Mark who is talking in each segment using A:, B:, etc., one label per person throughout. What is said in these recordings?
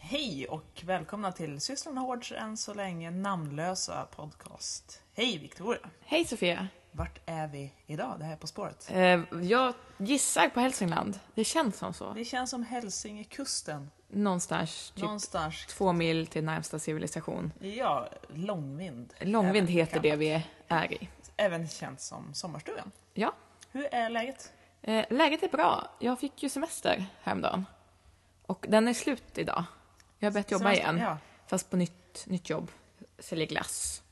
A: Hej och välkomna till Systrarna Hårds än så länge namnlösa podcast. Hej Victoria!
B: Hej Sofia!
A: Vart är vi idag? Det här är På spåret.
B: Eh, jag gissar på Hälsingland. Det känns som så.
A: Det känns som Hälsingekusten.
B: Någonstans typ
A: Någonstans.
B: två mil till närmsta civilisation.
A: Ja, Långvind.
B: Långvind
A: Även
B: heter det
A: kallat.
B: vi är i.
A: Även känt som Sommarstugan.
B: Ja.
A: Hur är läget?
B: Eh, läget är bra. Jag fick ju semester häromdagen. Och den är slut idag. Jag har börjat jobba
A: Semester-
B: igen.
A: Ja.
B: Fast på nytt, nytt jobb. Säljer glass.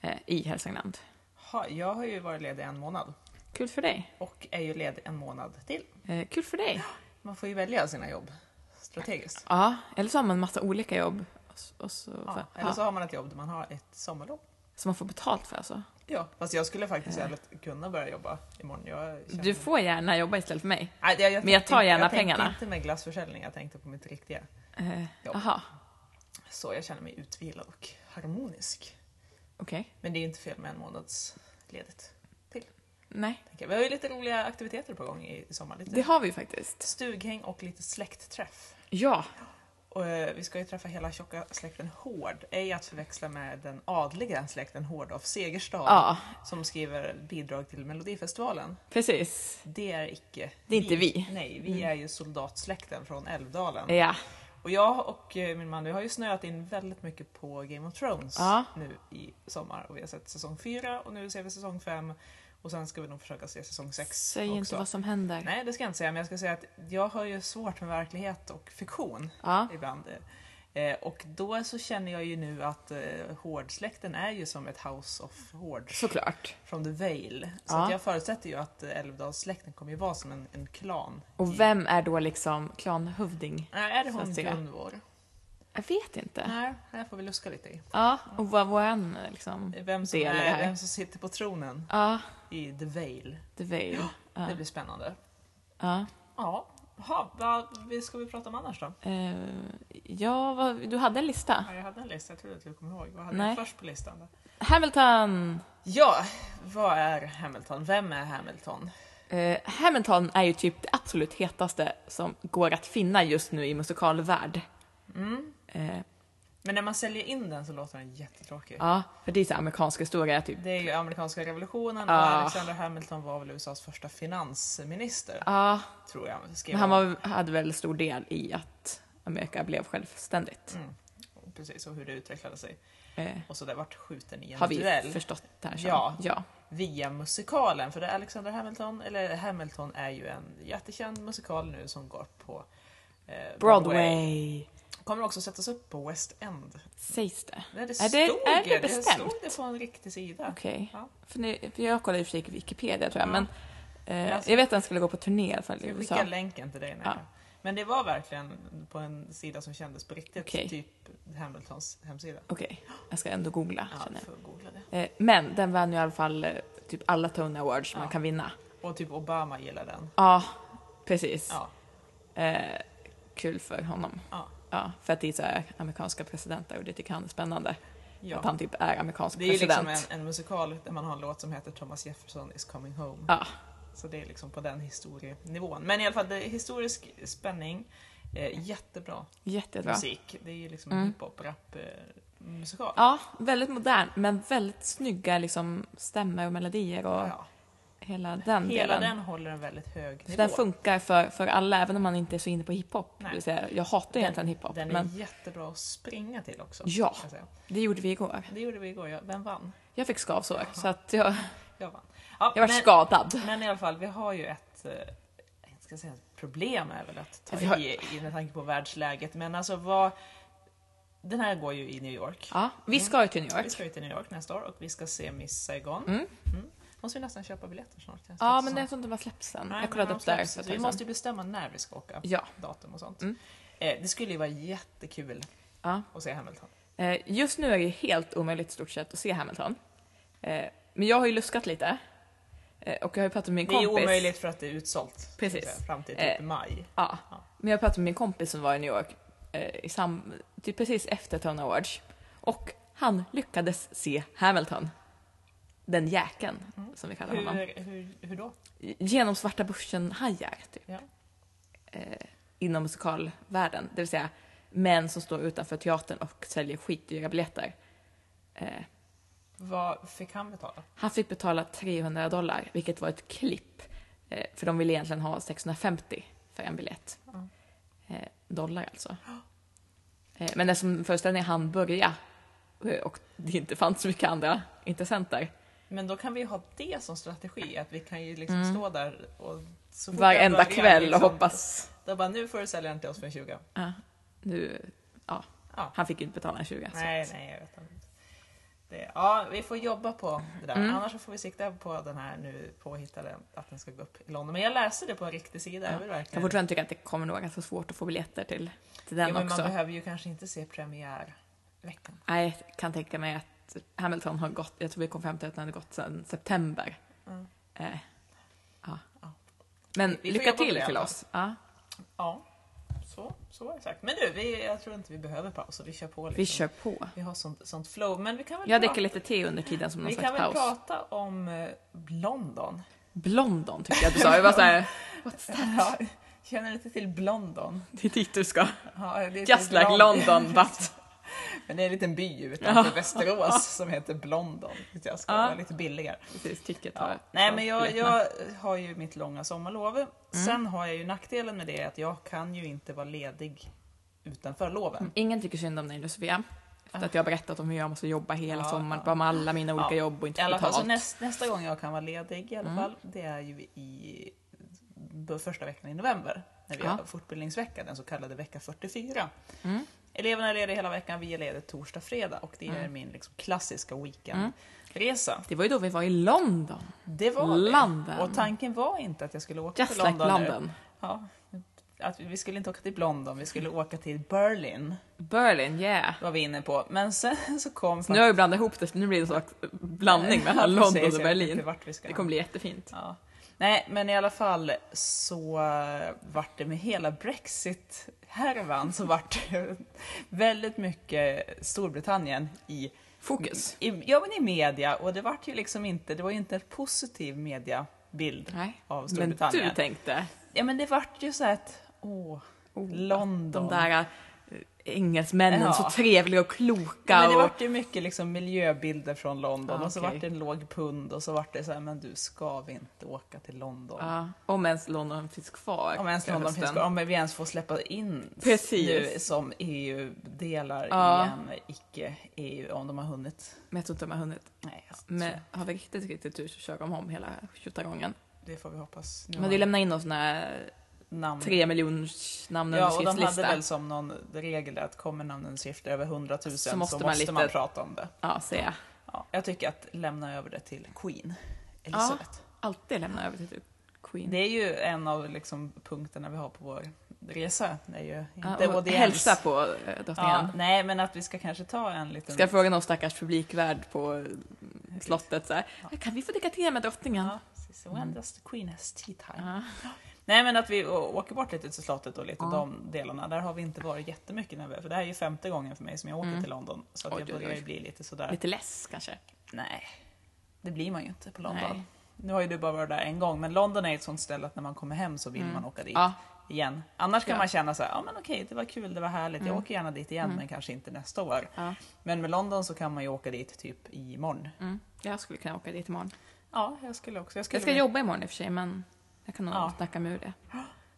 B: Eh, I Hälsingland.
A: Ha, jag har ju varit ledig en månad
B: Kul för dig.
A: och är ju ledig en månad till.
B: Eh, kul för dig.
A: Man får ju välja sina jobb strategiskt.
B: Ja, eller så har man massa olika jobb. Och, så- och så,
A: Ja,
B: för,
A: eller så
B: ja,
A: har man ett jobb där man har ett sommarlov.
B: som man får betalt för alltså.
A: Ja, fast jag skulle
B: Eh.
A: faktiskt jävligt kunna börja jobba imorgon. Jag känner...
B: Du får gärna jobba istället för mig.
A: Nej, det- jag
B: Men jag
A: tänkte
B: tar
A: inte-
B: gärna
A: jag tänkte
B: pengarna.
A: inte med glassförsäljning, jag tänkte på mitt riktiga.
B: Eh,
A: Ja.
B: Aha,
A: Så jag känner mig utvilad och harmonisk.
B: okej.
A: Men det är ju inte fel med en månads ledigt.
B: Nej,
A: tänker jag. Vi har ju lite roliga aktiviteter på gång i i sommar. Lite
B: det har vi ju faktiskt.
A: stughäng och lite släktträff.
B: Ja,
A: Och, eh, vi ska ju träffa hela tjocka släkten Hård, ej att förväxla med den adliga släkten Hård av Segerstad
B: ja,
A: som skriver bidrag till Melodifestivalen.
B: precis.
A: Det är icke
B: Det är inte vi. Mm.
A: Nej, vi är ju soldatsläkten från Älvdalen.
B: Ja,
A: Och jag och eh, min man vi har ju snöat in väldigt mycket på Game of Thrones
B: Ja.
A: nu i sommar. Och vi har sett säsong 4 och nu ser vi säsong 5. Och sen ska vi nog försöka se säsong 6
B: säg
A: också.
B: inte vad som händer.
A: Nej, det ska jag inte säga, men jag ska säga att jag har ju svårt med verklighet och fiktion
B: Ja,
A: ibland. Eh, Och då så känner jag ju nu att eh, Hårdsläkten är ju som ett House of Hårds
B: såklart.
A: från The Vale. Så
B: Ja.
A: att jag förutsätter ju att eh, Älvdalssläkten kommer ju vara som en, en klan.
B: Och vem är då liksom klanhövding?
A: Nej, är det
B: Så
A: hon
B: att säga.
A: Gunvor?
B: Jag vet inte.
A: Nej, här får vi luska lite i.
B: Ja, och vad våran liksom...
A: Vem som,
B: Det är det
A: är,
B: här.
A: vem som sitter på tronen
B: Ja,
A: i The Vale.
B: The Veil. Ja.
A: Det blir spännande.
B: ja.
A: Ja, Jaha, vad vi- ska vi prata om annars då?
B: Eh, ja, vad, du hade en lista.
A: Ja, jag hade en lista, jag trodde att du kom ihåg. Vad hade
B: Nej.
A: jag först på listan? Då?
B: Hamilton!
A: Ja, vad är Hamilton? Vem är Hamilton?
B: Eh, Hamilton är ju typ det absolut hetaste som går att finna just nu i musikalvärld. Eh,
A: Men när man säljer in den så låter den jättetråkig.
B: ja, för det är så här amerikansk historia typ.
A: Det är ju amerikanska revolutionen och
B: Ah.
A: Alexander Hamilton var väl USAs första finansminister,
B: Ja,
A: tror jag. Skrev
B: men han var, hade väl stor del i att Amerika blev självständigt.
A: Precis, och hur det utvecklade sig.
B: Eh,
A: Och så där vart skjuten i en
B: har vi
A: duell.
B: förstått det här som.
A: Ja.
B: ja.
A: via musikalen. För det är Alexander Hamilton, eller Hamilton är ju en jättekänd musikal nu som går på eh,
B: Broadway,
A: Kommer också sättas upp på West End.
B: sägs det.
A: Nej, det,
B: Är det-
A: stod,
B: är det
A: det,
B: bestämt?
A: stod det på en riktig sida.
B: Okej.
A: Ja.
B: För, nu- för jag kollade i och för sig Wikipedia tror jag,
A: Ja.
B: men eh,
A: Alltså-
B: jag vet att den skulle gå på turné i alla fall i
A: Ska Jag skickar
B: USA.
A: länken till dig. När
B: Ja.
A: jag- Men det var verkligen på en sida som kändes på riktigt.
B: Okej.
A: Typ Hamiltons hemsida.
B: Okej, jag ska ändå googla.
A: Ja,
B: känner
A: du
B: jag.
A: får googla det.
B: Eh, men den vann ju i alla fall eh, typ alla Tony Awards
A: Ja.
B: man kan vinna.
A: Och typ Obama gillar den.
B: Ja, precis.
A: Ja,
B: Eh, kul för honom.
A: Ja.
B: för att det är så här amerikanska presidenter och det tycker han är spännande. Att
A: ja.
B: han typ är amerikansk
A: Det är ju
B: president.
A: liksom en, en musikal där man har en låt som heter Thomas Jefferson is coming home.
B: Ja,
A: Så det är liksom på den historienivån. Men i alla fall, det är historisk spänning. Eh, jättebra
B: jättebra.
A: musik. Det är ju liksom en
B: Mm.
A: hiphop, rap, eh, musikal.
B: Ja, väldigt modern men väldigt snygga liksom stämmor och melodier och
A: Ja.
B: hela den
A: Hela
B: delen.
A: den håller en väldigt hög
B: Så
A: nivå.
B: den funkar för, för alla även om man inte är så inne på hiphop.
A: Nej.
B: Det vill säga, jag hatar ju egentligen hiphop
A: Den är
B: men
A: jättebra att springa till också.
B: Ja.
A: kan jag säga.
B: det gjorde vi igår.
A: Det gjorde vi igår. Jag, vem vann?
B: Jag fick skavsår så att jag,
A: Jag vann. Ja,
B: jag var
A: men,
B: skadad.
A: men i alla fall, vi har ju ett eh, jag ska säga, ett problem är väl att ta
B: Vi har-
A: i, i med tanke på världsläget. Men alltså vad... Den här går ju i New York.
B: Ja, vi ska ju till New
A: Mm. Vi
B: York.
A: ska ju till New York nästa år och vi ska se Miss Saigon.
B: Mm.
A: Mm. Måste vi nästan köpa biljetter snart. känns det
B: Ja
A: inte
B: men
A: som.
B: jag tror inte de har släppts än.
A: Nej,
B: Jag kollade
A: men
B: upp
A: de
B: där.
A: släpps,
B: för ett
A: så Vi
B: tag
A: måste
B: sedan.
A: ju bestämma när vi ska åka.
B: Ja.
A: Datum och sånt.
B: Mm.
A: Eh, det skulle ju vara jättekul
B: ja.
A: att se Hamilton.
B: Eh, Just nu är det ju helt omöjligt i stort sett att se Hamilton. Eh, Men jag har ju luskat lite. Eh, Och jag har ju pratat med min
A: Det är ju
B: kompis.
A: omöjligt för att det är utsålt. ska
B: Precis.
A: jag säga, Fram till typ
B: Eh.
A: maj.
B: Ja.
A: Ja.
B: Men jag pratade med min kompis som var i New York eh, i sam, typ precis efter Tony Awards. Och han lyckades se Hamilton. Den jäkeln, som vi kallar honom.
A: Mm. Hur, hur, hur då?
B: Genom svarta börsen-hajar, typ.
A: Ja.
B: Eh, inom musikalvärlden. Det vill säga, män som står utanför teatern och säljer skitdyra biljetter. Eh,
A: Vad fick han betala?
B: han fick betala 300 dollar, vilket var ett klipp. Eh, för de ville egentligen ha 650 för en biljett.
A: Ja.
B: Eh, dollar alltså. Eh, men eftersom föreställningen hann börja eh, och det inte fanns så mycket andra intressenter.
A: Men då kan vi ha det som strategi, att vi kan ju liksom stå där och så fort
B: Varenda
A: jag börjar,
B: Mm. kväll och
A: liksom,
B: hoppas...
A: Då bara, nu får du sälja den till oss för en 20.
B: Ja, nu, ja.
A: Ja.
B: Han fick ju inte betala en 20. så
A: Nej,
B: att-
A: nej, jag vet inte. Det, ja, vi får jobba på det där.
B: Mm.
A: Annars så får vi sikta på den här nu påhittade, att den ska gå upp i London. Men jag läste det på en riktig sida. Jag vill
B: Kan
A: verkligen...
B: fortfarande tycka att det kommer nog att vara svårt att få biljetter till, till den
A: jo, men
B: också.
A: man behöver ju kanske inte se premiärveckan.
B: Nej, Jag kan tänka mig att Hamilton har gått, jag tror vi kom fram till att den hade gått sedan september.
A: Mm.
B: Eh, ja.
A: Ja.
B: Men
A: Vi- vi får
B: lycka
A: jobba på
B: till
A: det
B: till
A: då.
B: oss. Ja.
A: Ja, så, så exakt. Men du, vi, jag tror inte vi behöver paus. så Vi kör på. Liksom.
B: Vi kör på.
A: Vi har sånt, sånt flow. Men vi kan väl
B: Jag
A: prata,
B: dricker lite te under tiden som någon
A: vi
B: slags
A: kan väl
B: paus.
A: prata om eh, London.
B: Blondon tyckte jag att du sa. Jag var såhär, what's that?
A: Ja, känner du inte till Blondon?
B: Det är dit du ska.
A: Ja, det är lite
B: Just like
A: Blond-
B: London but...
A: Men det är en liten by utanför Västerås som heter Blondon. vilket Jag ska
B: Ja.
A: vara lite billigare.
B: Precis, tycket
A: Ja.
B: var-
A: Nej,
B: var
A: men jag,
B: biljetterna.
A: jag har ju mitt långa sommarlov.
B: Mm.
A: Sen har jag ju nackdelen med det att jag kan ju inte vara ledig utanför loven.
B: Ingen tycker synd om dig nu Sofia. Efter att jag har berättat om hur jag måste jobba hela
A: Ja,
B: sommaren,
A: ja.
B: bara med alla mina olika
A: Ja,
B: jobb och inte
A: I
B: få
A: alla fall,
B: betalt.
A: så näst, nästa gång jag kan vara ledig i alla
B: Mm.
A: fall, det är ju i b- första veckan i november. När vi
B: Ja.
A: har fortbildningsvecka, den så kallade vecka 44.
B: Mm.
A: Eleverna är lediga hela veckan, vi är lediga torsdag, fredag och det är
B: Mm.
A: min liksom klassiska weekendresa.
B: Det var ju då vi var i London.
A: Det var det.
B: Mm. London.
A: Och tanken var inte att jag skulle åka
B: Just
A: till London,
B: like
A: nu.
B: London.
A: Ja, att vi skulle inte åka till London, vi skulle åka till Berlin.
B: Berlin, yeah.
A: var vi inne på. Men sen så kom...
B: Så nu har jag blandat ihop det, så nu blir det en slags blandning mellan
A: Ja,
B: London
A: precis,
B: och
A: jag vet inte
B: Berlin.
A: vart vi ska
B: Det kommer bli jättefint.
A: Ja. Nej, men i alla fall så eh, vart det med hela Brexit-härvan så vart det väldigt mycket Storbritannien i,
B: Fokus.
A: i, ja, men i media och det vart ju liksom inte, det var ju inte en positiv mediabild
B: Nej.
A: av
B: Men du
A: Storbritannien.
B: tänkte,
A: ja, men det vart ju så här att, åh, Oh, London.
B: de där eh, engelsmännen,
A: Ja.
B: så trevliga och
A: Ja,
B: kloka
A: men det
B: och...
A: vart ju mycket liksom miljöbilder från London
B: Ja,
A: och så
B: Ah, okej.
A: vart det en låg pund och så vart det så här, men du ska vi inte åka till London?
B: Ja, om ens London finns kvar.
A: Om ens
B: till
A: London
B: Ah, hösten.
A: finns kvar, om vi ens får släppa in
B: Precis. Ah.
A: nu som E EU-delar
B: Ja.
A: i en icke-EU, E om de har hunnit.
B: Men jag tror inte de har hunnit.
A: Nej, alltså, jag tror-
B: Men har vi riktigt, riktigt tur så kör de om hela tjotagången.
A: det får vi hoppas. Nu
B: De hade ju
A: har
B: lämnat in någon sån här
A: namn.
B: tre miljoners
A: Ja, och de hade
B: namnunderskriftslista.
A: väl som någon regel att kommer namnen skrifter över 100 000 så måste,
B: måste
A: man,
B: man lite-
A: prata om det.
B: Ja, ser jag.
A: Ja, jag tycker att lämna över det till Queen Elizabeth.
B: Alltid lämna över till typ Queen.
A: Det är ju en av liksom, punkterna vi har på vår resa. Det är ju inte
B: Ja, och
A: audiens.
B: hälsa på eh,
A: Ja,
B: drottningen.
A: nej, men att vi ska kanske ta en liten...
B: Ska jag fråga någon stackars publikvärd på eh, slottet så här. Kan vi få dricka te med drottningen?
A: Ja, precis. When does the Queen has tea time?
B: Mm. Ja.
A: Nej men att vi å- åker bort lite till slottet och lite de delarna. Där har vi inte varit jättemycket nu. För det här är ju femte gången för mig som jag åker till London. Så att
B: Mm. Oj,
A: jag
B: oj, oj.
A: börjar ju bli lite sådär.
B: Lite less kanske.
A: Nej, det blir man ju inte på London.
B: Nej.
A: Nu har ju du bara varit där en gång. Men London är ett sånt ställe att när man kommer hem så vill man åka dit
B: Ja,
A: igen. Annars kan
B: Ja.
A: man känna så här, Mm. ja Mm. men okej det var kul, det var härligt. Jag åker gärna dit igen men kanske inte nästa år.
B: Ja.
A: Men med London så kan man ju åka dit typ imorgon.
B: mm. jag skulle kunna åka dit imorgon.
A: Ja, jag skulle också. Jag skulle
B: Jag ska
A: vilja-
B: jobba imorgon i och för sig men jag kan nog
A: Ja.
B: snacka med ur det.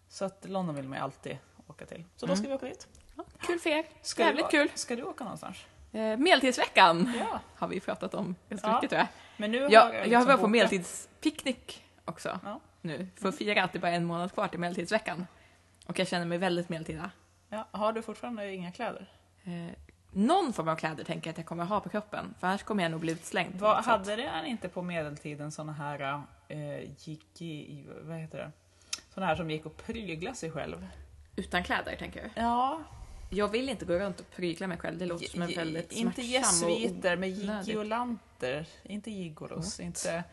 A: Så att London vill man ju alltid åka till. Så då ska vi åka dit.
B: Ja, kul för er.
A: Ska du
B: Jävligt
A: å-
B: kul.
A: Ska du åka någonstans?
B: Eh, medeltidsveckan
A: Ja.
B: har vi pratat om ganska
A: Ja.
B: mycket tror jag.
A: Men nu har
B: Jag,
A: jag, liksom
B: jag har börjat på
A: bokat-
B: medeltidspicknick också
A: Ja.
B: nu. För att fira att det bara är en månad kvar till medeltidsveckan. Och jag känner mig väldigt medeltida.
A: Ja, har du fortfarande inga kläder?
B: Eh, någon form av kläder tänker jag att jag kommer ha på kroppen. För annars kommer jag nog bli utslängd. liksom. på
A: Vad
B: något sätt.
A: hade det han inte på medeltiden såna här eh, gick i, vad heter det? Såna här som gick och prygla sig själv.
B: Utan kläder tänker jag.
A: Ja,
B: Jag vill inte gå runt och prygla mig själv. Det låter som en
A: J-
B: väldigt
A: Inte
B: smärtsam och...
A: jesuiter, men
B: onödig.
A: gigiolanter. Inte gigolos, inte...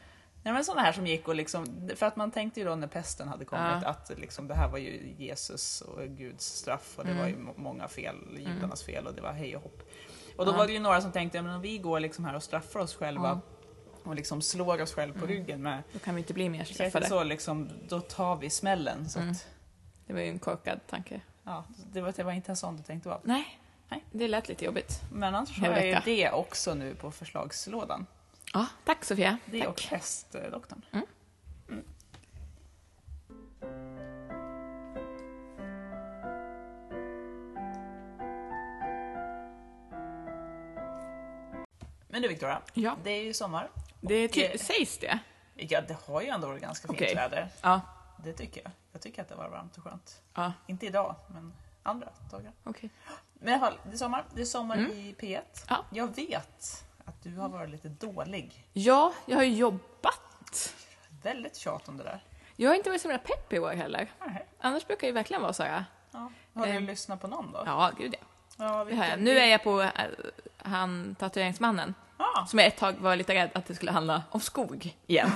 A: Nej men sådana här som gick och liksom, för att man tänkte ju då när pesten hade kommit
B: Ja.
A: att liksom, det här var ju Jesus och Guds straff
B: Mm.
A: och det var ju må- många fel, judarnas fel och det var hej och hopp. Och då
B: Ja.
A: var det ju några som tänkte, men om vi går liksom här och straffar oss själva och liksom slår oss själva
B: Mm.
A: på ryggen med,
B: Då kan vi inte bli mer
A: så,
B: straffade. Mm.
A: så liksom, då tar vi smällen. Så att,
B: Det var ju en korkad tanke.
A: Ja, det var, det var inte en sån du tänkte vara.
B: Nej.
A: Nej.
B: Det lät lite jobbigt.
A: Men annars har
B: En
A: jag ju
B: vecka.
A: det också nu på förslagslådan.
B: Ja, tack Sofia.
A: Det
B: tack. Mm.
A: och hästdoktorn. Mm. Men du Victoria,
B: Ja.
A: det är ju sommar.
B: Det
A: Och, eh,
B: ty- sägs det?
A: Ja, det har ju ändå varit ganska fint
B: Okej.
A: väder.
B: Ja.
A: Det tycker jag. Jag tycker att det var varmt och skönt.
B: Ja,
A: Inte idag, men andra dagar.
B: okej.
A: Men i alla fall, det är sommar. Det är sommar i P1.
B: Mm. Ja.
A: Jag vet att du har varit lite dålig.
B: Ja, jag har ju jobbat.
A: Väldigt tjat om det där.
B: Jag har inte varit så himla pepp i år heller.
A: Nej.
B: Annars brukar jag ju verkligen vara så. Ja,
A: Ja. Har du
B: Ehm.
A: lyssnat på någon då?
B: ja gud ja.
A: Ja,
B: Det har jag. Nu är jag på eh, han tatueringsmannen.
A: Ja.
B: Som jag ett tag var lite rädd att det skulle handla om skog igen.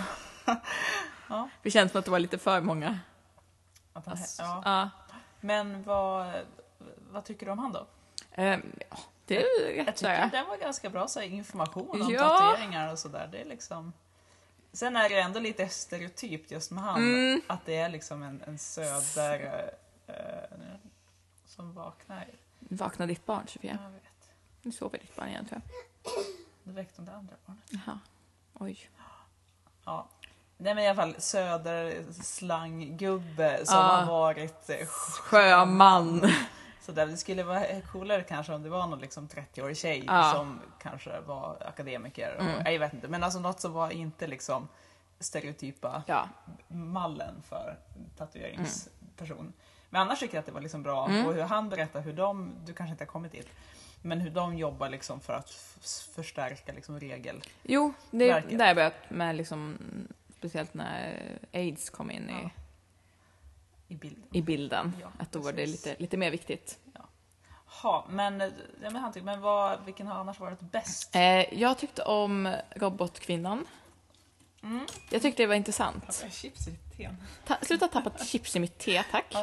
A: Ja.
B: Det känns som att det var lite för många.
A: Att han-
B: Alltså,
A: ja.
B: ja.
A: Men vad, vad tycker du om han då?
B: Ehm, ja. Det är ju
A: Jag
B: rätt så.
A: tycker
B: ja.
A: det var ganska bra så här, information om
B: Ja.
A: tatueringar och sådär. Det är liksom... Sen är det ändå lite stereotypt just med han.
B: Mm.
A: Att det är liksom en, en söder eh, nu, som vaknar.
B: Vakna ditt barn Sofia.
A: Jag vet.
B: Nu sover ditt barn igen tror jag.
A: Nu väckte hon det andra barnet.
B: Jaha. Oj.
A: Ja. Nej men i alla fall söderslanggubbe som
B: Ja.
A: har varit eh,
B: Sjöman.
A: Så där, det skulle vara coolare kanske om det var någon liksom 30-årig tjej
B: Ja.
A: som kanske var akademiker. Och,
B: Mm.
A: nej, Jag vet inte, men alltså något som var inte liksom stereotypa
B: Ja.
A: mallen för tatueringsperson. Men annars tycker jag att det var liksom bra,
B: Mm.
A: och hur han berättar hur de, du kanske inte har kommit dit, men hur de jobbar liksom för att f- förstärka liksom regel.
B: Jo, det är
A: Verket.
B: där jag börjat med liksom, speciellt när aids kom in i,
A: i bild.
B: i bilden.
A: Ja,
B: att då var det
A: precis.
B: lite, lite mer viktigt.
A: Ha, men, eh, ja, men, han tycker, men vad, vilken har annars varit bäst?
B: Eh, jag tyckte om robotkvinnan.
A: Mm.
B: Jag tyckte det var intressant.
A: Pappa, chips i ditt te.
B: Ta, sluta tappa chips i mitt te, tack.
A: Ja.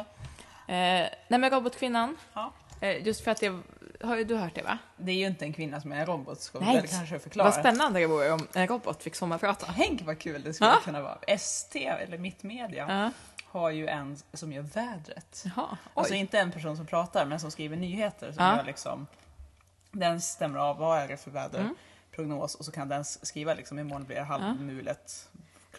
B: Eh, nej men robotkvinnan,
A: Ja.
B: eh, just för att jag, har ju du hört det va?
A: Det är ju inte en kvinna som är en robot, ska vi
B: Nej.
A: väl kanske förklara.
B: Vad spännande det vore om en robot fick sommarprata.
A: Tänk vad kul det skulle
B: Ja.
A: kunna vara. ST, eller Mittmedia,
B: Ja.
A: har ju en som gör vädret.
B: Jaha, oj.
A: Alltså inte en person som pratar, men som skriver nyheter. Som
B: Ja.
A: gör liksom, den stämmer av vad är det för
B: Mm.
A: väderprognos och så kan den s- skriva liksom imorgon blir det halvmulet.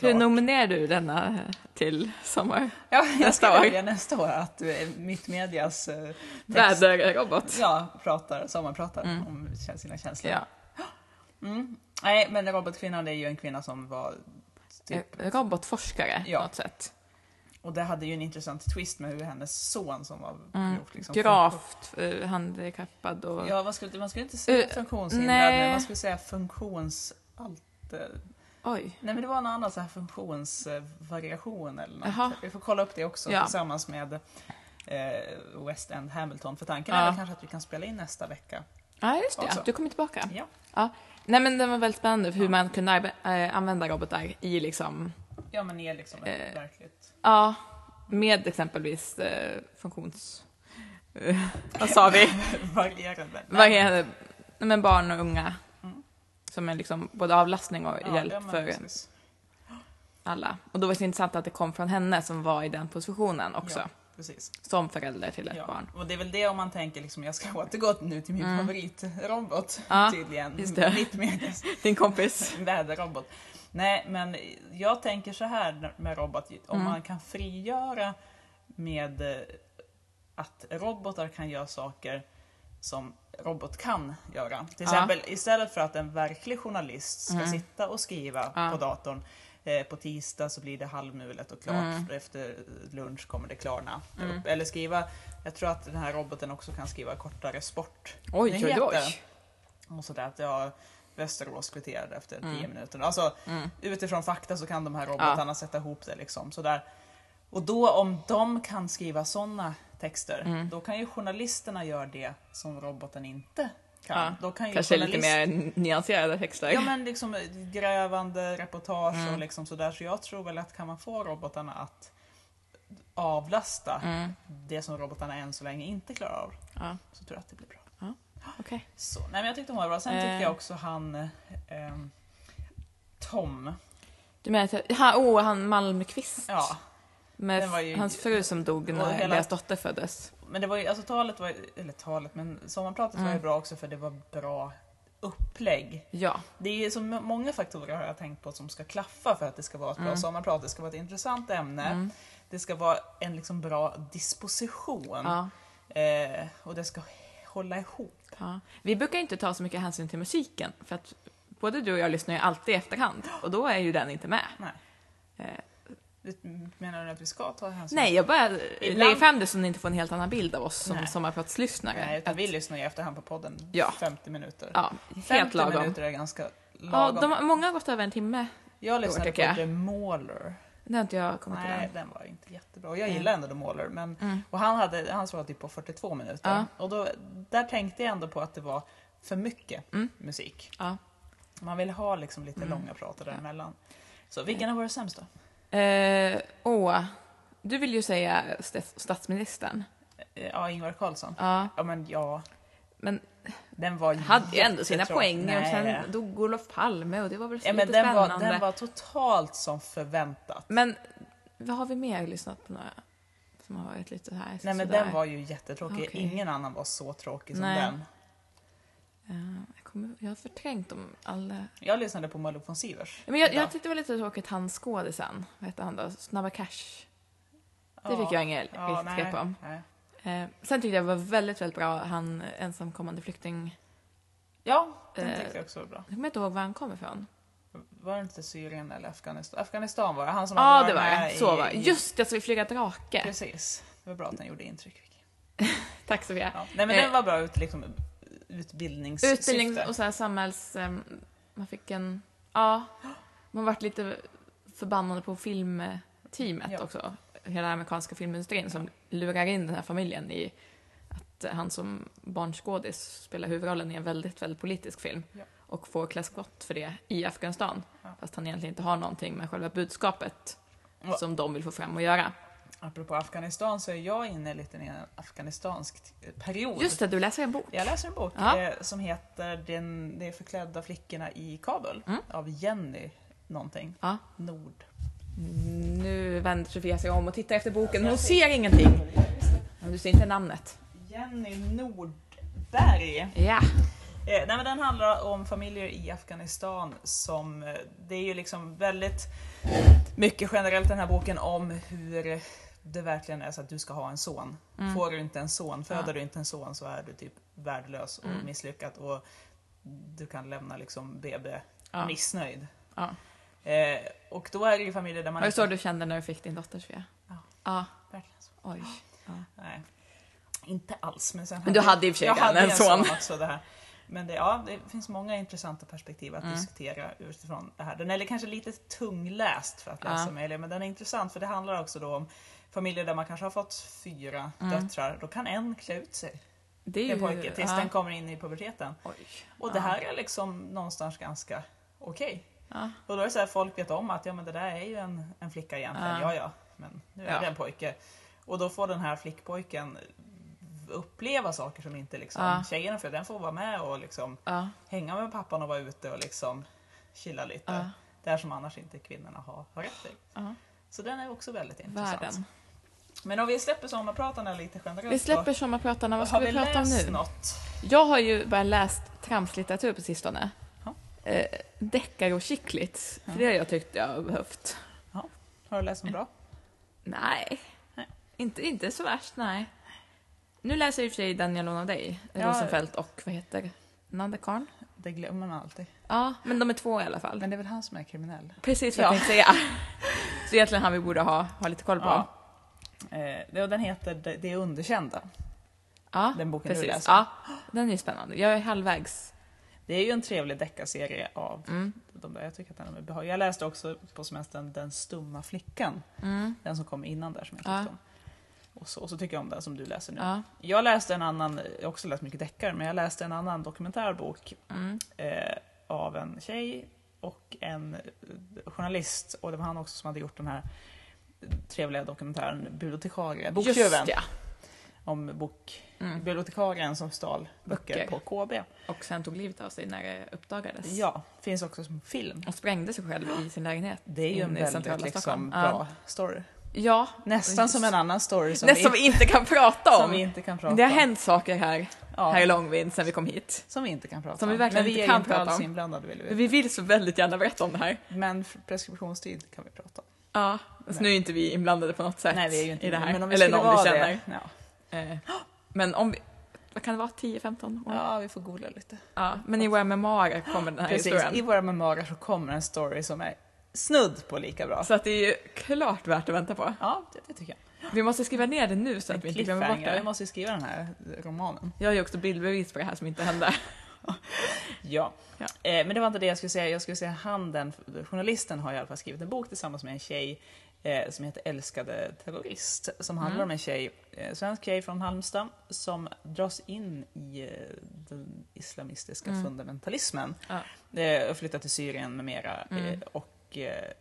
B: Hur
A: klart.
B: nominerar du denna eh, till sommar?
A: Ja, jag
B: nästa
A: ska
B: år?
A: välja nästa år att eh, Mittmedias eh, text,
B: Väderrobot.
A: Ja, pratar, sommarpratar om kä- sina känslor.
B: Mm. Ja.
A: Mm. Nej, men robotkvinnan det är ju en kvinna som var typ
B: Eh, Robotforskare
A: Ja.
B: på något sätt.
A: Och det hade ju en intressant twist med hur hennes son som var
B: Mm.
A: grovt liksom,
B: Gravt eh, handikappad och...
A: Ja, vad skulle, man skulle inte säga
B: Eh,
A: funktionshindrad,
B: nej.
A: men man skulle säga funktions... Allt, eh,
B: Oj.
A: nej men det var någon annan så här funktionsvariation eller något.
B: Jaha.
A: Vi får kolla upp det också
B: Ja.
A: tillsammans med eh, West End Hamilton. För tanken
B: Ja.
A: är väl kanske att vi kan spela in nästa vecka.
B: Ja, just det.
A: Alltså.
B: Du kommer tillbaka.
A: Ja,
B: Nej, men den var väldigt spännande för hur man kunde arbe- eh, använda robotar i liksom...
A: ja men det är liksom ett
B: Eh.
A: verkligt...
B: Ja, med exempelvis eh, funktions... eh, vad sa vi?
A: Varierande.
B: Varierande... nej, Men barn och unga.
A: Mm.
B: Som är liksom både avlastning och
A: Ja, ja,
B: hjälp
A: men
B: för
A: precis.
B: alla. Och då var det så intressant att det kom från henne som var i den positionen också.
A: Ja, precis.
B: Som förälder till ett
A: Ja,
B: barn.
A: Och det är väl det om man tänker liksom, jag ska återgå nu till min
B: Mm.
A: favoritrobot
B: Ja,
A: tydligen.
B: just det.
A: Mitt medias
B: Din kompis.
A: väderrobot. Nej, men jag tänker så här med robot, om
B: Mm.
A: man kan frigöra med eh, att robotar kan göra saker som robot kan göra. Till
B: Ja.
A: exempel istället för att en verklig journalist ska
B: Mm.
A: sitta och skriva
B: Ja.
A: på datorn eh, på tisdag så blir det halvmulet och klart.
B: Mm.
A: och Efter lunch kommer det klarna.
B: Mm.
A: Upp. Eller skriva, jag tror att den här roboten också kan skriva kortare sport
B: Oj, oj, oj.
A: Nyheter. och sådär. Att jag, Västerås kvitterade efter 10
B: Mm.
A: minuter. Alltså,
B: Mm.
A: utifrån fakta så kan de här robotarna sätta ihop det liksom. Sådär. Och då om de kan skriva sådana texter,
B: Mm.
A: då kan ju journalisterna göra det som roboten inte kan.
B: Ja,
A: Då kan ju
B: Kanske lite
A: journalist-
B: mer nyanserade texter.
A: Ja men liksom grävande reportage och
B: Mm.
A: liksom sådär. Så jag tror väl att kan man få robotarna att avlasta
B: Mm.
A: det som robotarna än så länge inte klarar av,
B: Ja,
A: så tror jag att det blir bra.
B: okej.
A: Så, nej men jag tyckte hon var bra. Sen tyckte
B: Eh.
A: jag också han ehm, Tom,
B: Du menar att jag, ha, oh, han Malmqvist?
A: ja,
B: Med
A: Den var ju-
B: hans fru som dog
A: och
B: när
A: hela-
B: deras dotter föddes.
A: Men det var ju, alltså talet var, eller talet, men sommarpratet var ju
B: Mm.
A: bra också för det var bra upplägg.
B: Ja,
A: Det är så m- många faktorer har jag tänkt på som ska klaffa för att det ska vara ett
B: Mm.
A: bra sommarprat. Det ska vara ett intressant ämne. Det ska vara en liksom bra disposition.
B: ja,
A: Eh, och det ska hålla ihop.
B: ja. Vi brukar ju inte ta så mycket hänsyn till musiken för att både du och jag lyssnar ju alltid i efterhand och då är ju den inte med.
A: Nej.
B: Eh,
A: Du menar du att vi ska ta hänsyn?
B: Nej, jag bara lägger
A: Ibland-
B: fram det så ni inte får en helt annan bild av oss som
A: Nej.
B: sommarpratslyssnare.
A: Nej, utan
B: Att-
A: vi lyssnar ju efterhand på podden.
B: Ja.
A: 50 minuter.
B: Ja,
A: 50
B: helt lagom.
A: minuter är ganska
B: Ja,
A: lagom.
B: de, många har gått över en timme.
A: Jag lyssnade
B: tycker
A: på
B: jag.
A: The Mauler.
B: Det har inte jag kommit till
A: Nej,
B: än.
A: den var inte jättebra. Jag
B: Mm.
A: gillar ändå The Mauler, men
B: Mm.
A: Och han hade, hans var typ på 42 minuter.
B: Ja.
A: Och då, där tänkte jag ändå på att det var för mycket
B: Mm.
A: musik.
B: Ja.
A: Man vill ha liksom lite
B: Mm.
A: långa prater däremellan. Så vilken har varit sämst då?
B: Eh, åh, du vill ju säga st- statsministern.
A: Eh, Ja, Ingvar Carlsson.
B: Ja,
A: Ja, men ja.
B: men
A: Den var
B: hade ju ändå sina
A: jättetråkig.
B: poäng och
A: Mm, Nej.
B: sen dog Olof Palme och det var väl
A: ja,
B: lite
A: men den,
B: spännande.
A: var, den var totalt som förväntat.
B: Men vad har vi mer lyssnat på några som har varit lite här
A: Nej, men
B: sådär?
A: den var ju jättetråkig.
B: Okej.
A: Ingen annan var så tråkig som
B: Nej.
A: den.
B: Eh, jag, kommer, jag har förträngt dem alla.
A: Jag lyssnade på Malou von Sivers.
B: Men jag,
A: idag.
B: jag tyckte det var lite tråkigt han skådisen, vad hette han då? Snabba Cash. Det
A: Ja.
B: fick jag ingen
A: Ja,
B: riktigt
A: nej,
B: grepp om.
A: nej.
B: Eh, sen tyckte jag det var väldigt, väldigt bra, han ensamkommande flykting.
A: Ja, den
B: Eh.
A: tyckte jag också var bra.
B: Jag kommer inte ihåg var han kommer ifrån.
A: Var det inte Syrien eller Afghanistan? Afghanistan var det. Han som
B: Ja,
A: hade varit
B: det var
A: med
B: det. Så
A: i-
B: var det. Just det, så vi flyger drake.
A: Precis. Det var bra att den gjorde intryck. Vicky.
B: Tack Sofia.
A: Ja. Nej men
B: Eh.
A: den var bra ut liksom utbildningssyfte.
B: Utbildning och så här samhälls... ehm, man fick en... Ja. Man vart lite förbannad på filmteamet
A: Ja.
B: också. Hela den amerikanska filmindustrin som lurar in den här familjen i att han som barnskådis spelar huvudrollen i en väldigt, väldigt politisk film.
A: Ja.
B: Och får klä skott för det i Afghanistan.
A: Ja.
B: Fast han egentligen inte har någonting med själva budskapet
A: Ja.
B: som de vill få fram och göra.
A: Apropå Afghanistan så är jag inne lite i en afghanistansk period.
B: Just det, du läser en bok.
A: Jag läser en bok
B: Ja.
A: eh, som heter Den, De förklädda flickorna i Kabul
B: Mm.
A: av Jenny någonting.
B: Ja.
A: Nord.
B: Nu vänder Sofia sig om och tittar efter boken. Hon ser ingenting. Men du ser inte namnet.
A: Jenny Nordberg.
B: Ja.
A: Eh, nej, men den handlar om familjer i Afghanistan som, eh, det är ju liksom väldigt mycket generellt den här boken om hur det verkligen är så att du ska ha en son.
B: Mm.
A: Får du inte en son, föder
B: Ja.
A: du inte en son så är du typ värdelös och
B: Mm.
A: misslyckad och du kan lämna liksom BB
B: ja.
A: missnöjd.
B: ja.
A: Eh, och då är det ju familjer där man
B: Var det så du kände när du fick din dotter Sofia?
A: Ja.
B: ja.
A: Verkligen så.
B: Oj. Ja.
A: Nej, inte alls. Men, sen
B: Men du hade i och för sig
A: jag
B: redan
A: hade
B: en
A: en son
B: son.
A: också. Det här. Men det, ja, det finns många intressanta perspektiv att
B: Mm.
A: diskutera utifrån det här. Den är kanske lite tungläst för att
B: Ja.
A: läsa möjligen, men den är intressant för det handlar också då om familjer där man kanske har fått fyra
B: Mm.
A: döttrar. Då kan en klä ut sig,
B: Det är
A: en
B: ju...
A: pojke, tills
B: ja.
A: den kommer in i puberteten.
B: Oj.
A: Och det här är liksom någonstans ganska okej.
B: Ja.
A: Och då är det så här, folk vet om att ja, men det där är ju en, en flicka egentligen, ja
B: Ja.
A: ja, men nu är
B: Ja.
A: det en pojke. Och då får den här flickpojken uppleva saker som inte liksom
B: Ja.
A: tjejerna får, den får vara med och liksom
B: Ja.
A: hänga med pappan och vara ute och liksom chilla lite.
B: Ja.
A: Det här som annars inte kvinnorna har, har rätt till.
B: ja.
A: Så den är också väldigt intressant.
B: Världen.
A: Men om vi släpper sommarpratarna lite generellt
B: Vi
A: då.
B: släpper sommarpratarna. Vad ska
A: Har
B: vi,
A: vi
B: prata om
A: läst
B: nu?
A: något?
B: Jag har ju börjat läst tramslitteratur på sistone.
A: Ja.
B: Eh, deckare och chicklits. För
A: Ja.
B: det har jag tyckt jag har behövt.
A: Har du läst något bra?
B: Nej.
A: Nej.
B: Inte, inte så värst, nej. Nu läser jag i och för sig den jag lånade av dig,
A: Ja.
B: Rosenfeldt och vad heter Nandekarn?
A: Det glömmer man alltid.
B: Ja, men de är två i alla fall.
A: Men det är väl han som är kriminell?
B: Precis vad jag
A: Ja.
B: tänkte säga. Så egentligen han vi borde ha, ha lite koll på.
A: Ja.
B: Ja,
A: Eh, det- och den heter Det det underkända. Den boken du
B: precis.
A: läser.
B: Ja, den är ju spännande. Jag är halvvägs.
A: Det är ju en trevlig deckarserie av
B: Mm.
A: de där. Jag tycker att den är behaglig. Jag läste också på semestern Den stumma flickan.
B: Mm.
A: Den som kom innan där som jag tyckte
B: Ja.
A: om. Och så, och så tycker jag om den som du läser nu.
B: Ja.
A: Jag läste en annan, jag har också läst mycket deckare, men jag läste en annan dokumentärbok
B: Mm.
A: eh, av en tjej och en eh, journalist. Och det var han också som hade gjort den här trevliga dokumentären Bibliotekarie,
B: Just
A: Boktjuven.
B: ja.
A: Om bok,
B: Mm.
A: bibliotekarien som stal böcker,
B: Böcker.
A: på KB.
B: Och sen tog livet av sig när det uppdagades.
A: Ja, finns också som film.
B: Och sprängde sig själv i sin lägenhet.
A: Mm, Det är ju en
B: in i
A: väldigt
B: centrala
A: liksom,
B: Stockholm.
A: bra story.
B: Ja,
A: Nästan som en annan story som,
B: nästan som
A: vi,
B: vi inte kan prata
A: som vi
B: om.
A: inte kan prata om.
B: Det har hänt saker här,
A: Ja.
B: här i Långvind sen vi kom hit.
A: Som vi inte kan prata
B: Som vi
A: om.
B: verkligen
A: Men vi
B: inte
A: är
B: kan
A: inte
B: prata
A: alls
B: om.
A: inblandade vill vi.
B: Vi vill så väldigt gärna berätta om det här.
A: Men f- preskriptionstid kan vi prata om.
B: Ja, alltså nu är inte vi inblandade på något sätt
A: Nej, vi är ju inte
B: i det här.
A: Men om vi
B: Eller
A: skulle
B: någon vi
A: vara
B: känner.
A: det. Ja.
B: Eh, Men om vi, vad kan det vara, 10-15 år? Ja.
A: ja, vi får googla lite.
B: men i våra memoarer kommer den här
A: Precis,
B: historien.
A: i våra memoarer så kommer en story som är snudd på lika bra.
B: Så att det är ju klart värt att vänta på.
A: Ja, det, det tycker jag.
B: Vi måste skriva ner det nu så att vi
A: En
B: inte glömmer bort
A: cliffhanger. Vi
B: det.
A: måste ju skriva den här romanen.
B: Jag har ju också bildbevis på det här som inte hände.
A: Ja.
B: Ja.
A: Eh, men det var inte det jag skulle säga. Jag skulle säga han, den journalisten, har i alla fall skrivit en bok tillsammans med en tjej eh, som heter Älskade terrorist. Som handlar om en tjej, eh, svensk tjej från Halmstad, som dras in i eh, den islamistiska fundamentalismen. Eh, och flyttar till Syrien med mera. Eh, och, eh,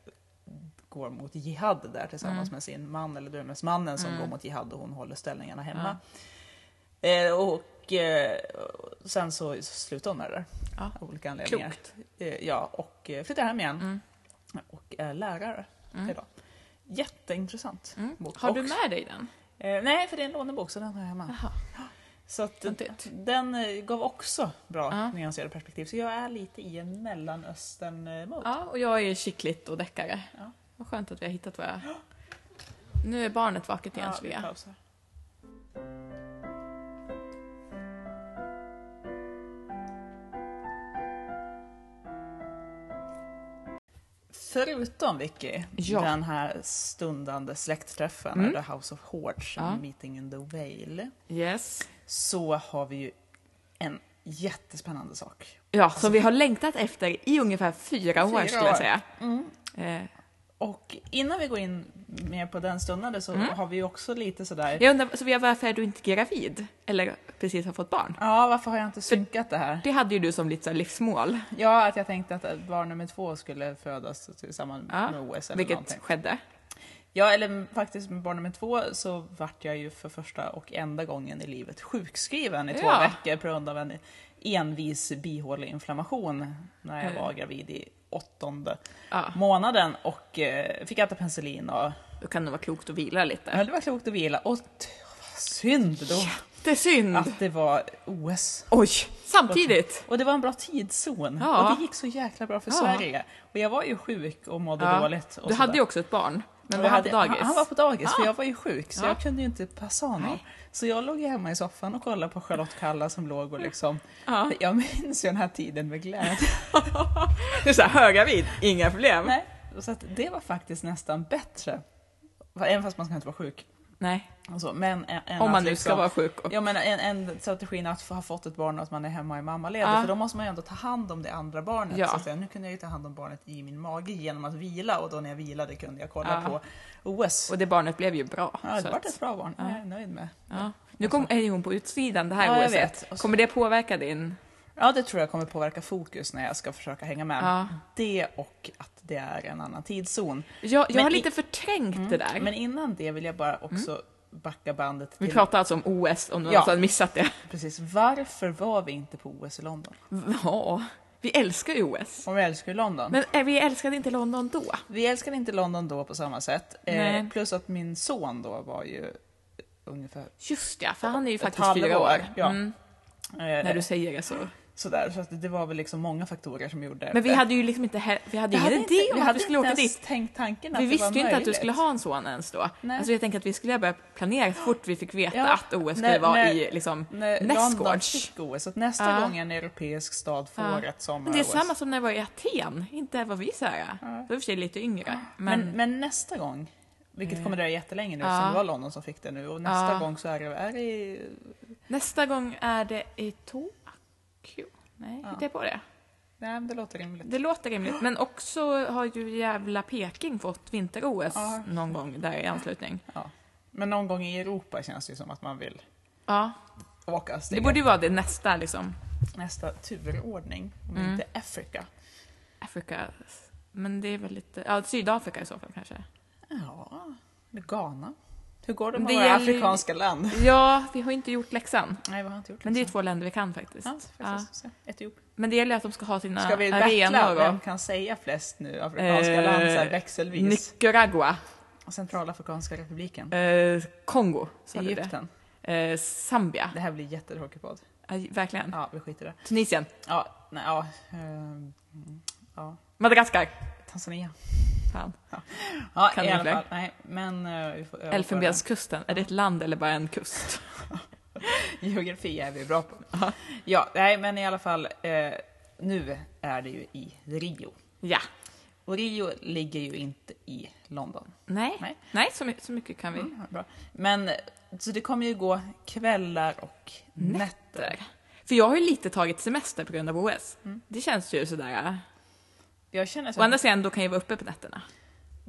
A: går mot jihad där tillsammans med sin man, eller drömmesmannen som går mot jihad och hon håller ställningarna hemma. Eh, och eh, sen så slutar hon med det där.
B: Ja.
A: Av olika anledningar.
B: Klokt.
A: Eh, ja, och eh, flyttar hem igen.
B: Mm.
A: Och är lärare idag. Jätteintressant Mm. bok.
B: Mm. Har du
A: Och-
B: med dig den?
A: Eh, nej, för det är en lånebok så den har jag hemma.
B: Jaha.
A: Så att, eh,
B: Häftigt.
A: den eh, gav också bra
B: Ja.
A: nyanserade perspektiv. Så jag är lite i en mellanöstern-mode.
B: Ja, och jag är ju chicklit och deckare.
A: Ja.
B: Vad skönt att vi har hittat våra... Nu är barnet vaket igen,
A: vi
B: Sofia.
A: pausar. Förutom Vicky,
B: Ja.
A: den här stundande släktträffen,
B: Mm.
A: The House of Hordes,
B: Ja.
A: Meeting in the Whale,
B: Yes.
A: så har vi ju en jättespännande sak.
B: Ja, som vi har längtat efter i ungefär fyra år
A: Fyra
B: skulle jag
A: år.
B: säga. Eh,
A: Och innan vi går in mer på den stundande så
B: Mm.
A: har vi ju också lite sådär,
B: jag undrar, Sofia, varför är du inte gravid? Eller precis har fått barn?
A: ja varför har jag inte synkat det här?
B: Det hade ju du som lite så här livsmål,
A: Ja, att jag tänkte att barn nummer två skulle födas tillsammans
B: Ja,
A: med OS eller
B: vilket
A: någonting.
B: skedde.
A: Ja, eller faktiskt med barn nummer två så vart jag ju för första och enda gången i livet sjukskriven i två
B: Ja.
A: veckor på grund av en envis bihåleinflammation när jag
B: Mm.
A: var gravid i åttonde
B: Ja.
A: månaden och eh, fick äta penicillin och
B: Då kan det vara klokt att vila lite.
A: ja, det var klokt att vila och t- vad synd då
B: Jättesynd!
A: att det var OS.
B: Oj! Samtidigt!
A: Och det var en bra tidszon
B: Ja.
A: och det gick så jäkla bra för
B: Ja.
A: Sverige. Och jag var ju sjuk och mådde
B: Ja.
A: dåligt. Och
B: Du
A: sådär.
B: hade ju också ett barn, men
A: Och
B: var
A: jag
B: han på
A: hade-
B: dagis?
A: Han var på dagis,
B: Ah.
A: för jag var ju sjuk så
B: Ja.
A: jag kunde ju inte passa honom.
B: Nej.
A: Så jag låg ju hemma i soffan och kollade på Charlotte Kalla som låg och liksom...
B: Ja.
A: Jag minns ju den här tiden med glädje.
B: Du är såhär högravid, inga problem. Nej.
A: Nej. Så att det var faktiskt nästan bättre. Även fast man ska inte vara sjuk. Och så. Men ä- än
B: Om
A: att
B: man nu
A: liksom-
B: ska vara sjuk. Och...
A: Ja, men en, en strategin att få- ha fått ett barn och att man är hemma i mammaledig,
B: Ja.
A: för då måste man ju ändå ta hand om det andra barnet.
B: Ja.
A: Så att säga. Nu kunde jag ju ta hand om barnet i min mage genom att vila och då när jag vilade kunde jag kolla
B: Ja.
A: på OS.
B: Och det barnet blev ju bra.
A: Ja,
B: så
A: det vart
B: att-
A: ett bra barn, det är jag nöjd med.
B: ja. Nu kom, är ju hon på utsidan det här
A: Ja, jag
B: OSet.
A: vet. Och så-
B: Kommer det påverka din...
A: Ja, det tror jag kommer påverka fokus när jag ska försöka hänga med.
B: Ja.
A: Det och att det är en annan tidszon.
B: Jag, jag
A: Men
B: har
A: i- Mm.
B: lite förträngt det där.
A: Men innan det vill jag bara också backa bandet
B: Mm. Vi
A: till
B: pratar alltså om OS, om någon
A: Ja.
B: har missat det.
A: precis varför var vi inte på OS i London?
B: Ja, vi älskar ju OS.
A: Om vi älskar ju London.
B: Men eh, vi älskade inte London då.
A: Vi älskade inte London då på samma sätt.
B: Nej.
A: Eh, plus att min son då var ju ungefär
B: Just ja, för han är ju
A: Ett
B: faktiskt fyra
A: halvår,
B: år.
A: ja.
B: Mm, när
A: eh,
B: du säger det så.
A: sådär. Så att det var väl liksom många faktorer som gjorde
B: Men vi
A: det.
B: hade ju liksom inte, he- vi hade
A: Jag
B: ju
A: hade
B: ingen idé om
A: vi
B: att
A: hade
B: vi skulle
A: inte
B: åka
A: ens
B: dit.
A: tänkt tanken att
B: Vi
A: det
B: visste
A: var
B: ju inte att du
A: möjligt.
B: skulle ha en son ens då.
A: Nej.
B: Alltså jag tänkte att vi skulle börja planera så fort vi fick veta
A: Ja.
B: att OS skulle
A: När-
B: vara
A: när-
B: i liksom
A: När London
B: nästgårds.
A: fick OS, så att nästa
B: Ja.
A: gång en europeisk stad får
B: Ja.
A: ett sommar
B: Men det är samma som när jag var i Aten, inte var vi så här. Då var vi i och för sig lite yngre. Men,
A: Men, men, nästa gång, vilket kommer dröja jättelänge nu
B: Ja.
A: eftersom det var London som fick det nu och nästa
B: Ja.
A: gång så är det, är det i-
B: nästa gång är det i Tokyo. Nej, hittar jag på det?
A: Nej men det låter rimligt.
B: Det låter rimligt. Men också har ju jävla Peking fått vinter-OS
A: Ja.
B: någon gång där i anslutning.
A: Ja. Men någon gång i Europa känns det ju som att man vill
B: Ja,
A: åka
B: det
A: steget.
B: borde ju vara det nästa liksom.
A: Nästa turordning, om
B: Mm.
A: inte Afrika.
B: Afrika. Men det är väl lite, ja Sydafrika i så fall kanske.
A: Ja, eller Ghana. Hur går det
B: Men
A: med
B: det
A: våra
B: gäller ju-
A: afrikanska land?
B: Ja, vi har ju inte gjort läxan.
A: Nej, vi har inte gjort
B: Men det är
A: så.
B: två länder vi kan faktiskt.
A: Ja, faktiskt. Etiopien.
B: Men det gäller att de ska ha sina
A: Ska vi battla?
B: arenor.
A: Vem
B: och-
A: kan säga flest nu afrikanska
B: Eh,
A: land så här växelvis?
B: Nicaragua.
A: Centralafrikanska republiken.
B: Eh, Kongo, sa du det?
A: Egypten.
B: Eh, Zambia,
A: Det här blir jättetråkigt podd.
B: Eh, verkligen.
A: Ja, vi skiter i det.
B: Tunisien,
A: Ja, nej, ja. ehm, ja.
B: Madagaskar.
A: Tanzania.
B: Fan.
A: Ja,
B: Kan
A: i
B: du
A: alla
B: fler?
A: fall. Nej, men... eh, vi får överföra-
B: Elfenbenskusten, är det ett land eller bara en kust?
A: Geografi är vi bra på. Ja, nej, men i alla fall. Eh, nu är det ju i Rio.
B: ja.
A: Och Rio ligger ju inte i London.
B: Nej,
A: Nej. Mm.
B: Nej. så, my- så mycket kan vi.
A: Ja, bra. Men, så det kommer ju gå kvällar och nätter.
B: Där. För jag har ju lite tagit semester på grund av OS. Det känns ju sådär. äh.
A: Mm. Jag känner så
B: Å andra sidan, då kan jag vara uppe på nätterna.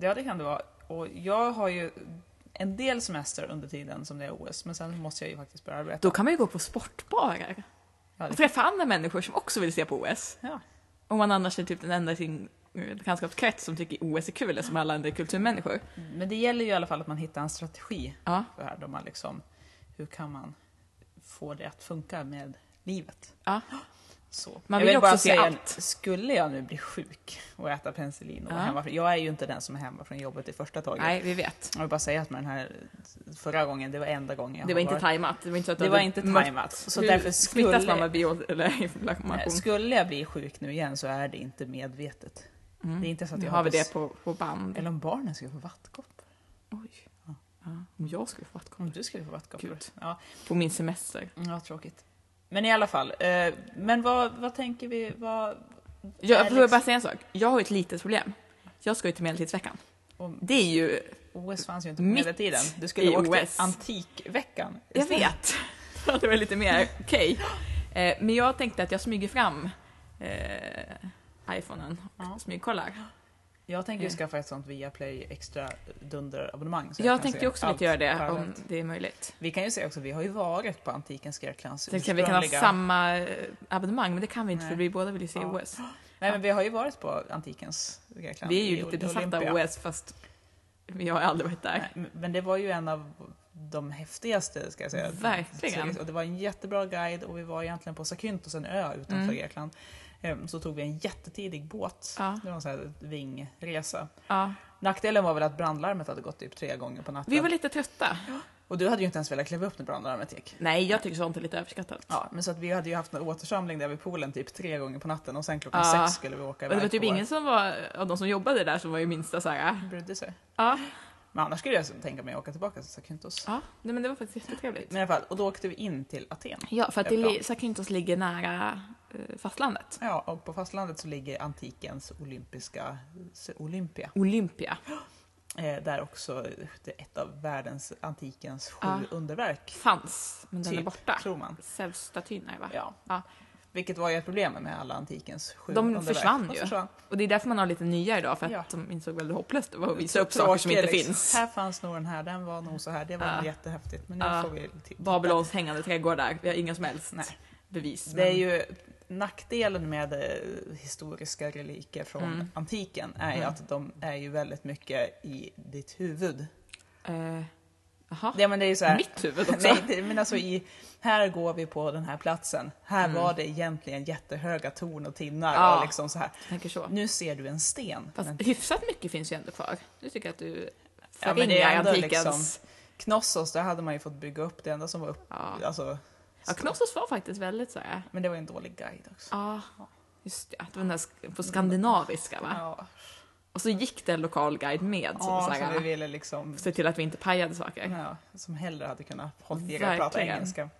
A: Ja, det kan det vara. Och jag har ju en del semester under tiden som det är OS, men sen måste jag ju faktiskt börja arbeta.
B: Då kan man ju gå på sportbarer
A: Ja, det-
B: och träffa andra människor som också vill se på OS.
A: Ja.
B: Om man annars är typ den enda i sin eh, bekantskapskrets som tycker OS är kul, eller som alla andra är kulturmänniskor.
A: Men det gäller ju i alla fall att man hittar en strategi
B: Ja,
A: för det här. Då man liksom, hur kan man få det att funka med livet?
B: ja.
A: Så.
B: Man
A: jag
B: vill också se allt.
A: Skulle jag nu bli sjuk och äta penicillin och vara
B: Ja.
A: hemma, jag är ju inte den som är hemma från jobbet i första taget.
B: Nej, vi vet.
A: Jag vill bara säga att med den här förra gången, det var enda gången jag
B: Det
A: har
B: var inte
A: varit-
B: tajmat. Det var inte så att du
A: Det var
B: hade
A: inte
B: mött-
A: tajmat. Så
B: Hur
A: därför
B: smittas man
A: skulle,
B: med bio eller inflammation?
A: skulle jag bli sjuk nu igen så är det inte medvetet.
B: Mm.
A: Det är inte så att
B: Nu
A: jag
B: har vi
A: hoppas-
B: det på, på band.
A: Eller om barnen skulle få vattkoppor.
B: Oj. Ja. Om jag skulle få vattkoppor.
A: Om du skulle få vattkoppor.
B: Gud.
A: Ja,
B: På min semester.
A: ja, Mm, tråkigt. Men i alla fall. Eh, men vad, vad tänker vi? Vad,
B: Jag
A: Nej,
B: får jag
A: liksom-
B: bara säga en sak. Jag har ett litet problem. Jag ska ju till Medeltidsveckan.
A: om,
B: Det är ju...
A: OS fanns ju inte på
B: Mitt
A: medeltiden. Du
B: i
A: skulle ha åkt till
B: OS.
A: antikveckan.
B: Jag vet. det var lite mer okej. Eh, Men jag tänkte att jag smyger fram eh, iPhonen och
A: Ja.
B: smygkollar.
A: Jag tänker ju skaffa ett sånt Viaplay extra dunderabonnemang. så
B: Jag,
A: kan
B: tänkte
A: se
B: ju också
A: allt
B: lite göra det
A: parallellt.
B: om det är möjligt.
A: Vi kan ju säga också, vi har ju varit på antikens Greklands
B: Tänkte jag vi kan ha
A: ursprungliga-
B: samma eh, abonnemang, men det kan vi inte
A: Nej.
B: för vi båda vill ju se
A: Ja.
B: OS.
A: Nej men vi har ju varit på antikens Grekland.
B: Vi är ju
A: i
B: lite
A: Olympia.
B: besatta av OS fast jag har aldrig varit där.
A: Nej, Men det var ju en av de häftigaste ska jag säga.
B: Verkligen.
A: Och det var en jättebra guide och vi var egentligen på Zakynthos, en ö utanför
B: Mm.
A: Grekland. Ehm, Så tog vi en jättetidig båt.
B: Ja.
A: Det var en sån här vingresa.
B: Ja.
A: Nackdelen var väl att brandlarmet hade gått typ tre gånger på natten.
B: Vi var lite trötta.
A: Och du hade ju inte ens velat kliva upp när brandlarmet gick.
B: Nej, jag tycker sånt är lite överskattat.
A: Ja, men så att vi hade ju haft en återsamling där vid poolen typ tre gånger på natten och sen klockan
B: Ja.
A: sex skulle vi åka
B: Och det
A: iväg.
B: var typ
A: på-
B: ingen som var, av de som jobbade där som var ju minsta så här.
A: brydde sig.
B: Ja,
A: Men annars skulle jag tänka mig att åka tillbaka till Zakynthos.
B: ja. Nej, men det var faktiskt jättetrevligt.
A: Men i alla fall, och då åkte vi in till Aten.
B: Ja, för att det
A: Ja.
B: li- Zakynthos ligger nära eh, fastlandet.
A: Ja, och på fastlandet så ligger antikens olympiska Olympia.
B: Olympia.
A: Eh, där också det är ett av världens antikens sju
B: Ja.
A: underverk,
B: Fanns, men den är
A: Typ.
B: borta.
A: tror man.
B: Zeus-statyn är va?
A: Ja.
B: Ja.
A: Vilket var ju ett problem med alla antikens sju
B: De
A: underverk.
B: försvann ju.
A: försvann.
B: Och det är därför man har lite nya idag, för att
A: Ja.
B: de insåg väl hur hopplöst det var att visa upp saker som
A: Tråkiga,
B: inte
A: liksom.
B: finns.
A: Här fanns nog den här, den var nog så här, det var
B: Ja.
A: nog jättehäftigt. Men nu
B: Ja.
A: får vi till.
B: Babylons hängande trädgårdar, vi har inga som helst
A: Nej.
B: bevis.
A: Det är
B: men-
A: ju nackdelen med eh, historiska reliker från
B: Mm.
A: antiken är ju
B: Mm.
A: att de är ju väldigt mycket i ditt huvud.
B: Eh, Jaha,
A: Ja, men det är ju så här,
B: mitt huvud också.
A: Nej, det- men alltså i, här går vi på den här platsen. Här
B: Mm.
A: var det egentligen jättehöga torn och tinnar
B: Ja.
A: och liksom så här.
B: Jag tänker så.
A: Nu ser du en sten.
B: Fast
A: Men
B: hyfsat mycket finns ju ändå kvar. Nu tycker jag att du
A: Ja, men det
B: förringar
A: är ändå
B: antikens...
A: liksom- Knossos, där hade man ju fått bygga upp det enda som var upp.
B: Ja.
A: Alltså,
B: ja, Knossos var faktiskt väldigt så här...
A: Men det var ju en dålig guide också.
B: Ja, just det. Det var den där sk- på skandinaviska, va?
A: Mm. Ja,
B: Och så gick det en lokal guide med som
A: ja
B: så
A: som vi Mm.
B: här,
A: ville liksom,
B: se till att vi inte pajade saker.
A: ja, som hellre hade kunnat hållit i det och prata
B: Verkligen.
A: engelska.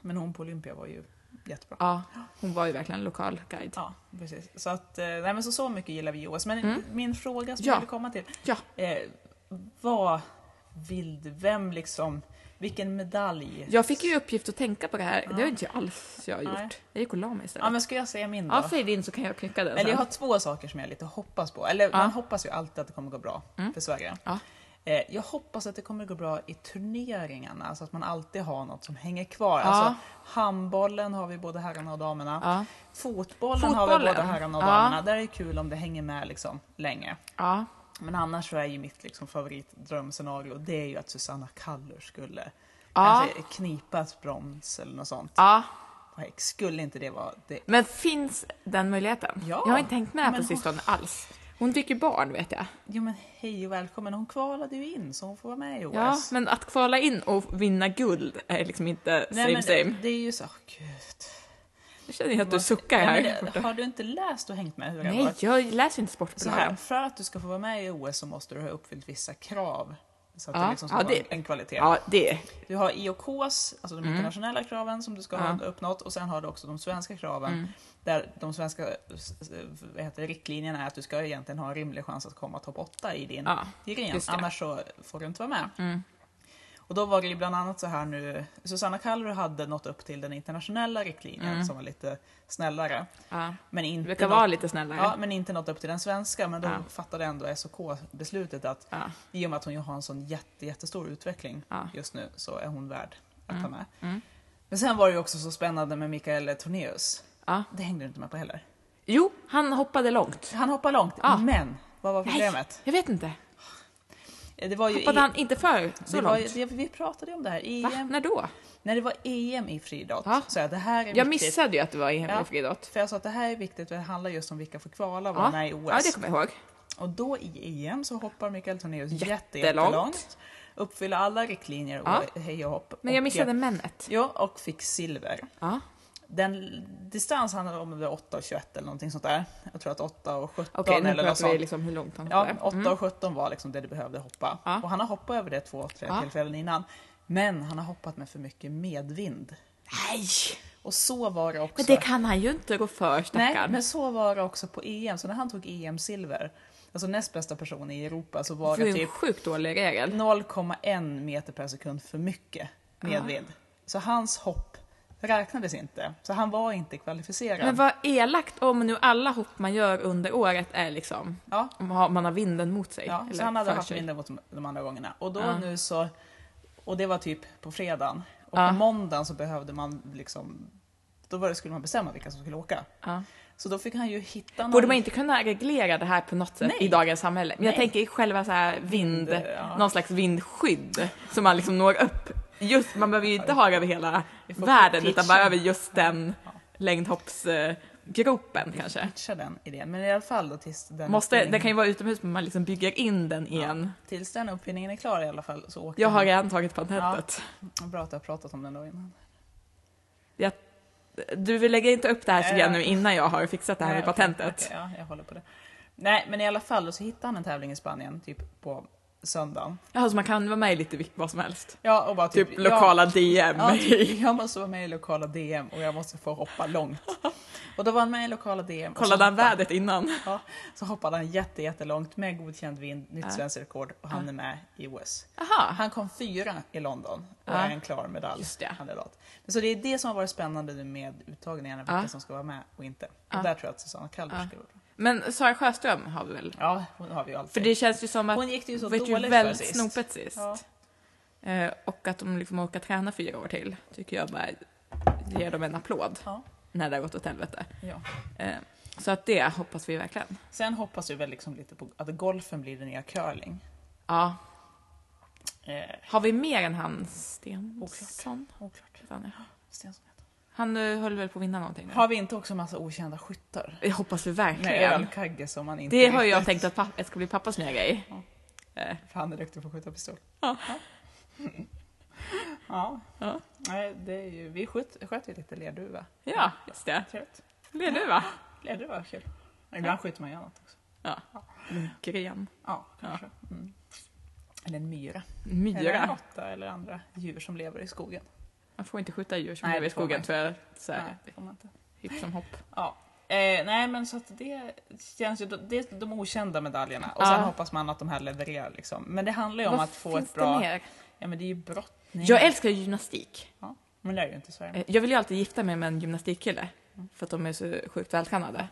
A: Men hon på Olympia var ju jättebra.
B: Ja, hon var ju verkligen en lokal guide.
A: Ja, precis. Så, att, eh, nej, men så, så mycket gillar vi i OS. Men
B: Mm.
A: min fråga som
B: Ja.
A: jag ville komma till.
B: Ja.
A: Eh, vad vill du? Vem liksom? Vilken medalj?
B: Jag fick ju i uppgift att tänka på det här. Det har
A: Ja.
B: inte jag alls jag har gjort.
A: Nej.
B: Jag gick och la mig
A: Ja,
B: istället.
A: men ska jag säga min då?
B: Ja, säg din så kan jag knycka den
A: Eller jag
B: sen.
A: har två saker som jag lite hoppas på. Eller
B: Ja.
A: man hoppas ju alltid att det kommer gå bra
B: Mm.
A: för Sverige.
B: Ja.
A: Eh, Jag hoppas att det kommer gå bra i turneringarna, så att man alltid har något som hänger kvar.
B: Ja.
A: Alltså, handbollen har vi både herrarna och damerna.
B: Ja.
A: Fotbollen, har vi både
B: Fotbollen.
A: herrarna och
B: Ja.
A: damerna. Där är det kul om det hänger med liksom länge.
B: Ja.
A: Men annars så är ju mitt liksom favoritdrömscenario det är ju att Susanna Kallur skulle
B: Ja.
A: kanske knipa ett brons eller något sånt.
B: ja.
A: På häck. Skulle inte det vara det?
B: Men finns den möjligheten?
A: Ja.
B: Jag har inte tänkt med det här på
A: Men-
B: sistone alls. Hon fick ju barn vet jag.
A: Jo men hej och välkommen, hon kvalade ju in så hon får vara med i OS.
B: Ja, men att kvala in och vinna guld är liksom inte
A: Nej,
B: same
A: men
B: same.
A: Det är ju så, åh, gud.
B: Nu känner jag att du
A: Vad-
B: suckar
A: Ja, men
B: här.
A: det- Har du inte läst och hängt med hur det har
B: Nej,
A: varit?
B: jag läser inte
A: Så här,
B: sportbladen.
A: för att du ska få vara med i OS så måste du ha uppfyllt vissa krav. Så att
B: Ja,
A: det liksom ska
B: ja,
A: vara
B: det-
A: en kvalitet.
B: Ja, det.
A: Du har IOKs, alltså de internationella kraven som du ska ha
B: Ja. Mm.
A: uppnått och sen har du också de svenska kraven. Där de svenska s- s- vad heter, det, riktlinjerna är att du ska egentligen ha en rimlig chans att komma topp 8 i din
B: Ja, mm.
A: gren,
B: just det.
A: annars så får du inte vara med. Och då var det ju bland annat så här nu, Susanna Kallur hade nått upp till den internationella riktlinjen som var lite snällare.
B: Ja.
A: Men
B: Mm. Du
A: inte
B: brukar
A: nått-
B: vara lite snällare.
A: Ja, men inte nått upp till den svenska. Men då
B: Ja.
A: fattade ändå SOK beslutet att
B: Ja.
A: i och med att hon ju har en sån jätte, jättestor utveckling
B: Ja. Mm.
A: just nu så är hon värd att ta med. Men sen var det ju också så spännande med Mikael Tornéus.
B: Ja.
A: Det hängde du inte med på heller.
B: Jo, han hoppade långt.
A: Han hoppar långt,
B: Ja.
A: men vad var
B: Nej,
A: problemet?
B: jag vet inte.
A: Det var ju
B: Hoppade
A: E-
B: han inte för så
A: det var,
B: långt?
A: ju- vi pratade ju om det här. EM,
B: Va? När då?
A: När det var EM i friidrott
B: Ja.
A: så jag det här är
B: Jag
A: viktigt.
B: missade ju att det var i hemlig
A: Ja.
B: friidrott.
A: För jag sa att det här är viktigt för det handlar just om vilka får kvala och vara
B: Ja.
A: med i OS.
B: ja, det kommer jag ihåg.
A: Och då i EM så hoppar Mikael Tornéus jätte,
B: Jättelångt.
A: jättelångt. Uppfyller alla riktlinjer och
B: Ja.
A: hej och hopp.
B: Men jag
A: Och-
B: missade männet.
A: Ja, och fick silver.
B: Ja.
A: Den distans handlade om det var 8,21 eller någonting sånt där. Jag tror att 8 och 17
B: Okej, nu
A: eller något
B: pratar vi
A: sånt.
B: liksom hur långt han
A: Ja,
B: hoppade.
A: 8 och 17 var liksom det du behövde hoppa.
B: Ja.
A: Och han har hoppat över det två, tre
B: Ja.
A: tillfällen innan. Men han har hoppat med för mycket medvind.
B: Nej!
A: Och så var det också.
B: Men det kan han ju inte gå för
A: Nej,
B: stackarn.
A: men så var det också på EM. Så när han tog EM-silver, alltså näst bästa person i Europa, så var
B: det är
A: det
B: ju en
A: typ
B: sjukt dålig regel.
A: 0,1 meter per sekund för mycket medvind. Så hans hopp räknades inte. Så han var inte kvalificerad.
B: Men vad elakt om nu alla hopp man gör under året är liksom,
A: Ja.
B: om man har- man har vinden mot sig.
A: Ja,
B: eller
A: så han hade
B: för
A: haft
B: sig.
A: mindre mot de andra gångerna. Och då
B: Ja.
A: nu så, och det var typ på fredagen. Och
B: Ja.
A: på måndagen så behövde man liksom, då var det, skulle man bestämma vilka som skulle åka.
B: Ja.
A: Så då fick han ju hitta någon...
B: Borde man inte kunna reglera det här på något sätt
A: Nej.
B: i dagens samhälle? Men jag
A: Nej.
B: tänker i själva så här vind,
A: Vind, ja.
B: någon slags vindskydd som man liksom når upp. Just, man behöver ju inte ha det över hela
A: Vi får
B: världen
A: pitcha.
B: utan bara över just den
A: Ja.
B: längdhoppsgropen kanske.
A: pitcha den idén. Men i alla fall då tills den,
B: Måste,
A: uppfinningen-
B: det kan ju vara utomhus men man liksom bygger in den i en.
A: tills den uppfinningen är klar i alla fall så åker
B: Jag har
A: han.
B: redan tagit patentet.
A: Bra att jag har pratat om den då innan.
B: Jag, du vill lägga inte upp det här Sofia
A: Äh.
B: nu innan jag har fixat det här
A: Nej,
B: med
A: okej,
B: patentet.
A: okej, ja, jag håller på det. Nej, men i alla fall så hittade han en tävling i Spanien, typ på söndagen.
B: Ja, så man kan vara med i lite vad som helst.
A: Ja, och bara typ,
B: Typ lokala DM.
A: Ja, typ, jag måste vara med i lokala DM och jag måste få hoppa långt. Och då var han med i lokala DM. och så
B: Kollade han
A: hoppade-
B: vädret innan?
A: Ja, så hoppade han jätte, jättelångt med godkänd vind, nytt
B: Ja.
A: svenskt rekord och han är med i OS.
B: Aha.
A: Han kom fyra i London och
B: Ja.
A: är en klar
B: Just det.
A: medaljkandidat. Men Så det är det som har varit spännande nu med uttagningarna, vilka
B: Ja.
A: som ska vara med och inte. Och
B: Ja.
A: där tror jag att Susanna Kallberg
B: Ja.
A: skulle vara.
B: Men Sara Sjöström har vi väl?
A: Ja, hon har vi ju alltid.
B: För det känns ju som att
A: Hon gick det ju så
B: vet ju
A: dåligt
B: väldigt
A: för sist.
B: snopet sist.
A: Ja.
B: Eh, och att de liksom orkar träna fyra år till. Tycker jag bara ger dem en applåd
A: Ja,
B: när det har gått åt helvete.
A: ja.
B: Eh, så att det hoppas vi verkligen.
A: Sen hoppas vi väl liksom lite på att golfen blir den nya curling.
B: Ja.
A: Eh,
B: Har vi mer än han Stensson?
A: oklart.
B: Vad fan är-
A: Stensson heter
B: Han eh, höll väl på att vinna någonting
A: han.
B: nu?
A: Har vi inte också massa okända skyttar?
B: Jag hoppas vi
A: Med
B: verkligen.
A: ölkagge som man inte
B: det har jag
A: riktigt-
B: tänkt att pappa, ska bli pappas nya grej. Eh,
A: För han är duktig på att skjuta pistol.
B: Ja.
A: Mm. ja.
B: Ja.
A: Nej, det är ju, vi sköt, sköt ju lite lerduva.
B: ja, just det.
A: Trevligt.
B: Det är du va?
A: Lerduva är kul. Ibland skjuter man ju annat också.
B: Gren.
A: Ja, kanske. Mm. Eller en myra. Eller en
B: Myra.
A: råtta eller andra djur som lever i skogen.
B: Man får inte skjuta djur som
A: Nej,
B: lever i
A: det får man
B: skogen
A: inte.
B: tror jag. Så
A: Nej,
B: här,
A: det får man inte.
B: hipp som hopp.
A: Ja. Eh, nej men så att det känns ju, det är de okända medaljerna och
B: Ja.
A: sen hoppas man att de här levererar liksom. Men det handlar ju om
B: Vad
A: att få
B: finns
A: ett
B: det
A: bra,
B: mer?
A: ja men det är ju brottning.
B: Jag älskar ju gymnastik.
A: ja. Men det är ju inte i Sverige.
B: Eh, Jag vill ju alltid gifta mig med en gymnastikkille. För att de är så sjukt vältränade.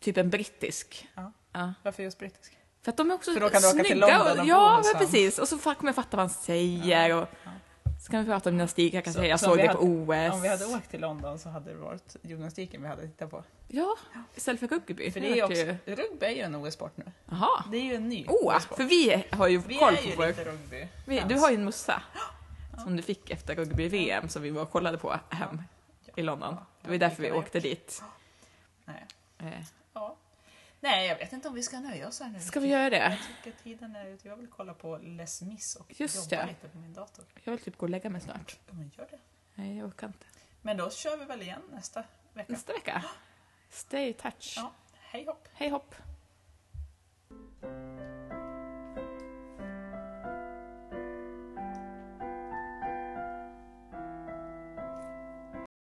B: Typ en brittisk.
A: Ja.
B: Ja.
A: Varför just brittisk?
B: För att de är också
A: För då kan du åka till
B: snygga.
A: London och
B: och,
A: bo
B: ja,
A: hos
B: men
A: han.
B: precis. Och så fa- kommer jag fatta vad han säger. Och så kan vi prata om gymnastik. Jag kan
A: Så-
B: säga jag
A: så
B: såg
A: vi
B: det
A: hade-
B: på OS.
A: Om vi hade åkt till London så hade det varit gymnastiken vi hade tittat på.
B: Ja, istället för rugby.
A: För det är ju
B: vart ju-
A: också, rugby är ju en OS-sport nu.
B: Jaha.
A: Det är ju en ny
B: Ah. Åh,
A: OS-sport.
B: för vi har ju
A: Vi
B: koll
A: är ju
B: på vår...
A: lite rugby.
B: Vi, du har ju en mussa som du fick efter rugby-VM som vi var och kollade på hem i London. Det var ju därför vi åkte dit.
A: Nej.
B: Eh,
A: Ja. Nej, jag vet inte om vi ska nöja oss här nu.
B: Ska vi göra det?
A: Jag tycker tiden är ute. Jag vill kolla på Les Mis och
B: Just
A: jobba
B: det.
A: lite på min dator.
B: Jag vill typ gå och lägga mig snart.
A: Ja, men gör det.
B: Nej, jag orkar inte.
A: Men då kör vi väl igen nästa vecka.
B: Nästa vecka. Stay touch.
A: Ja, hej hopp!
B: Hej hopp!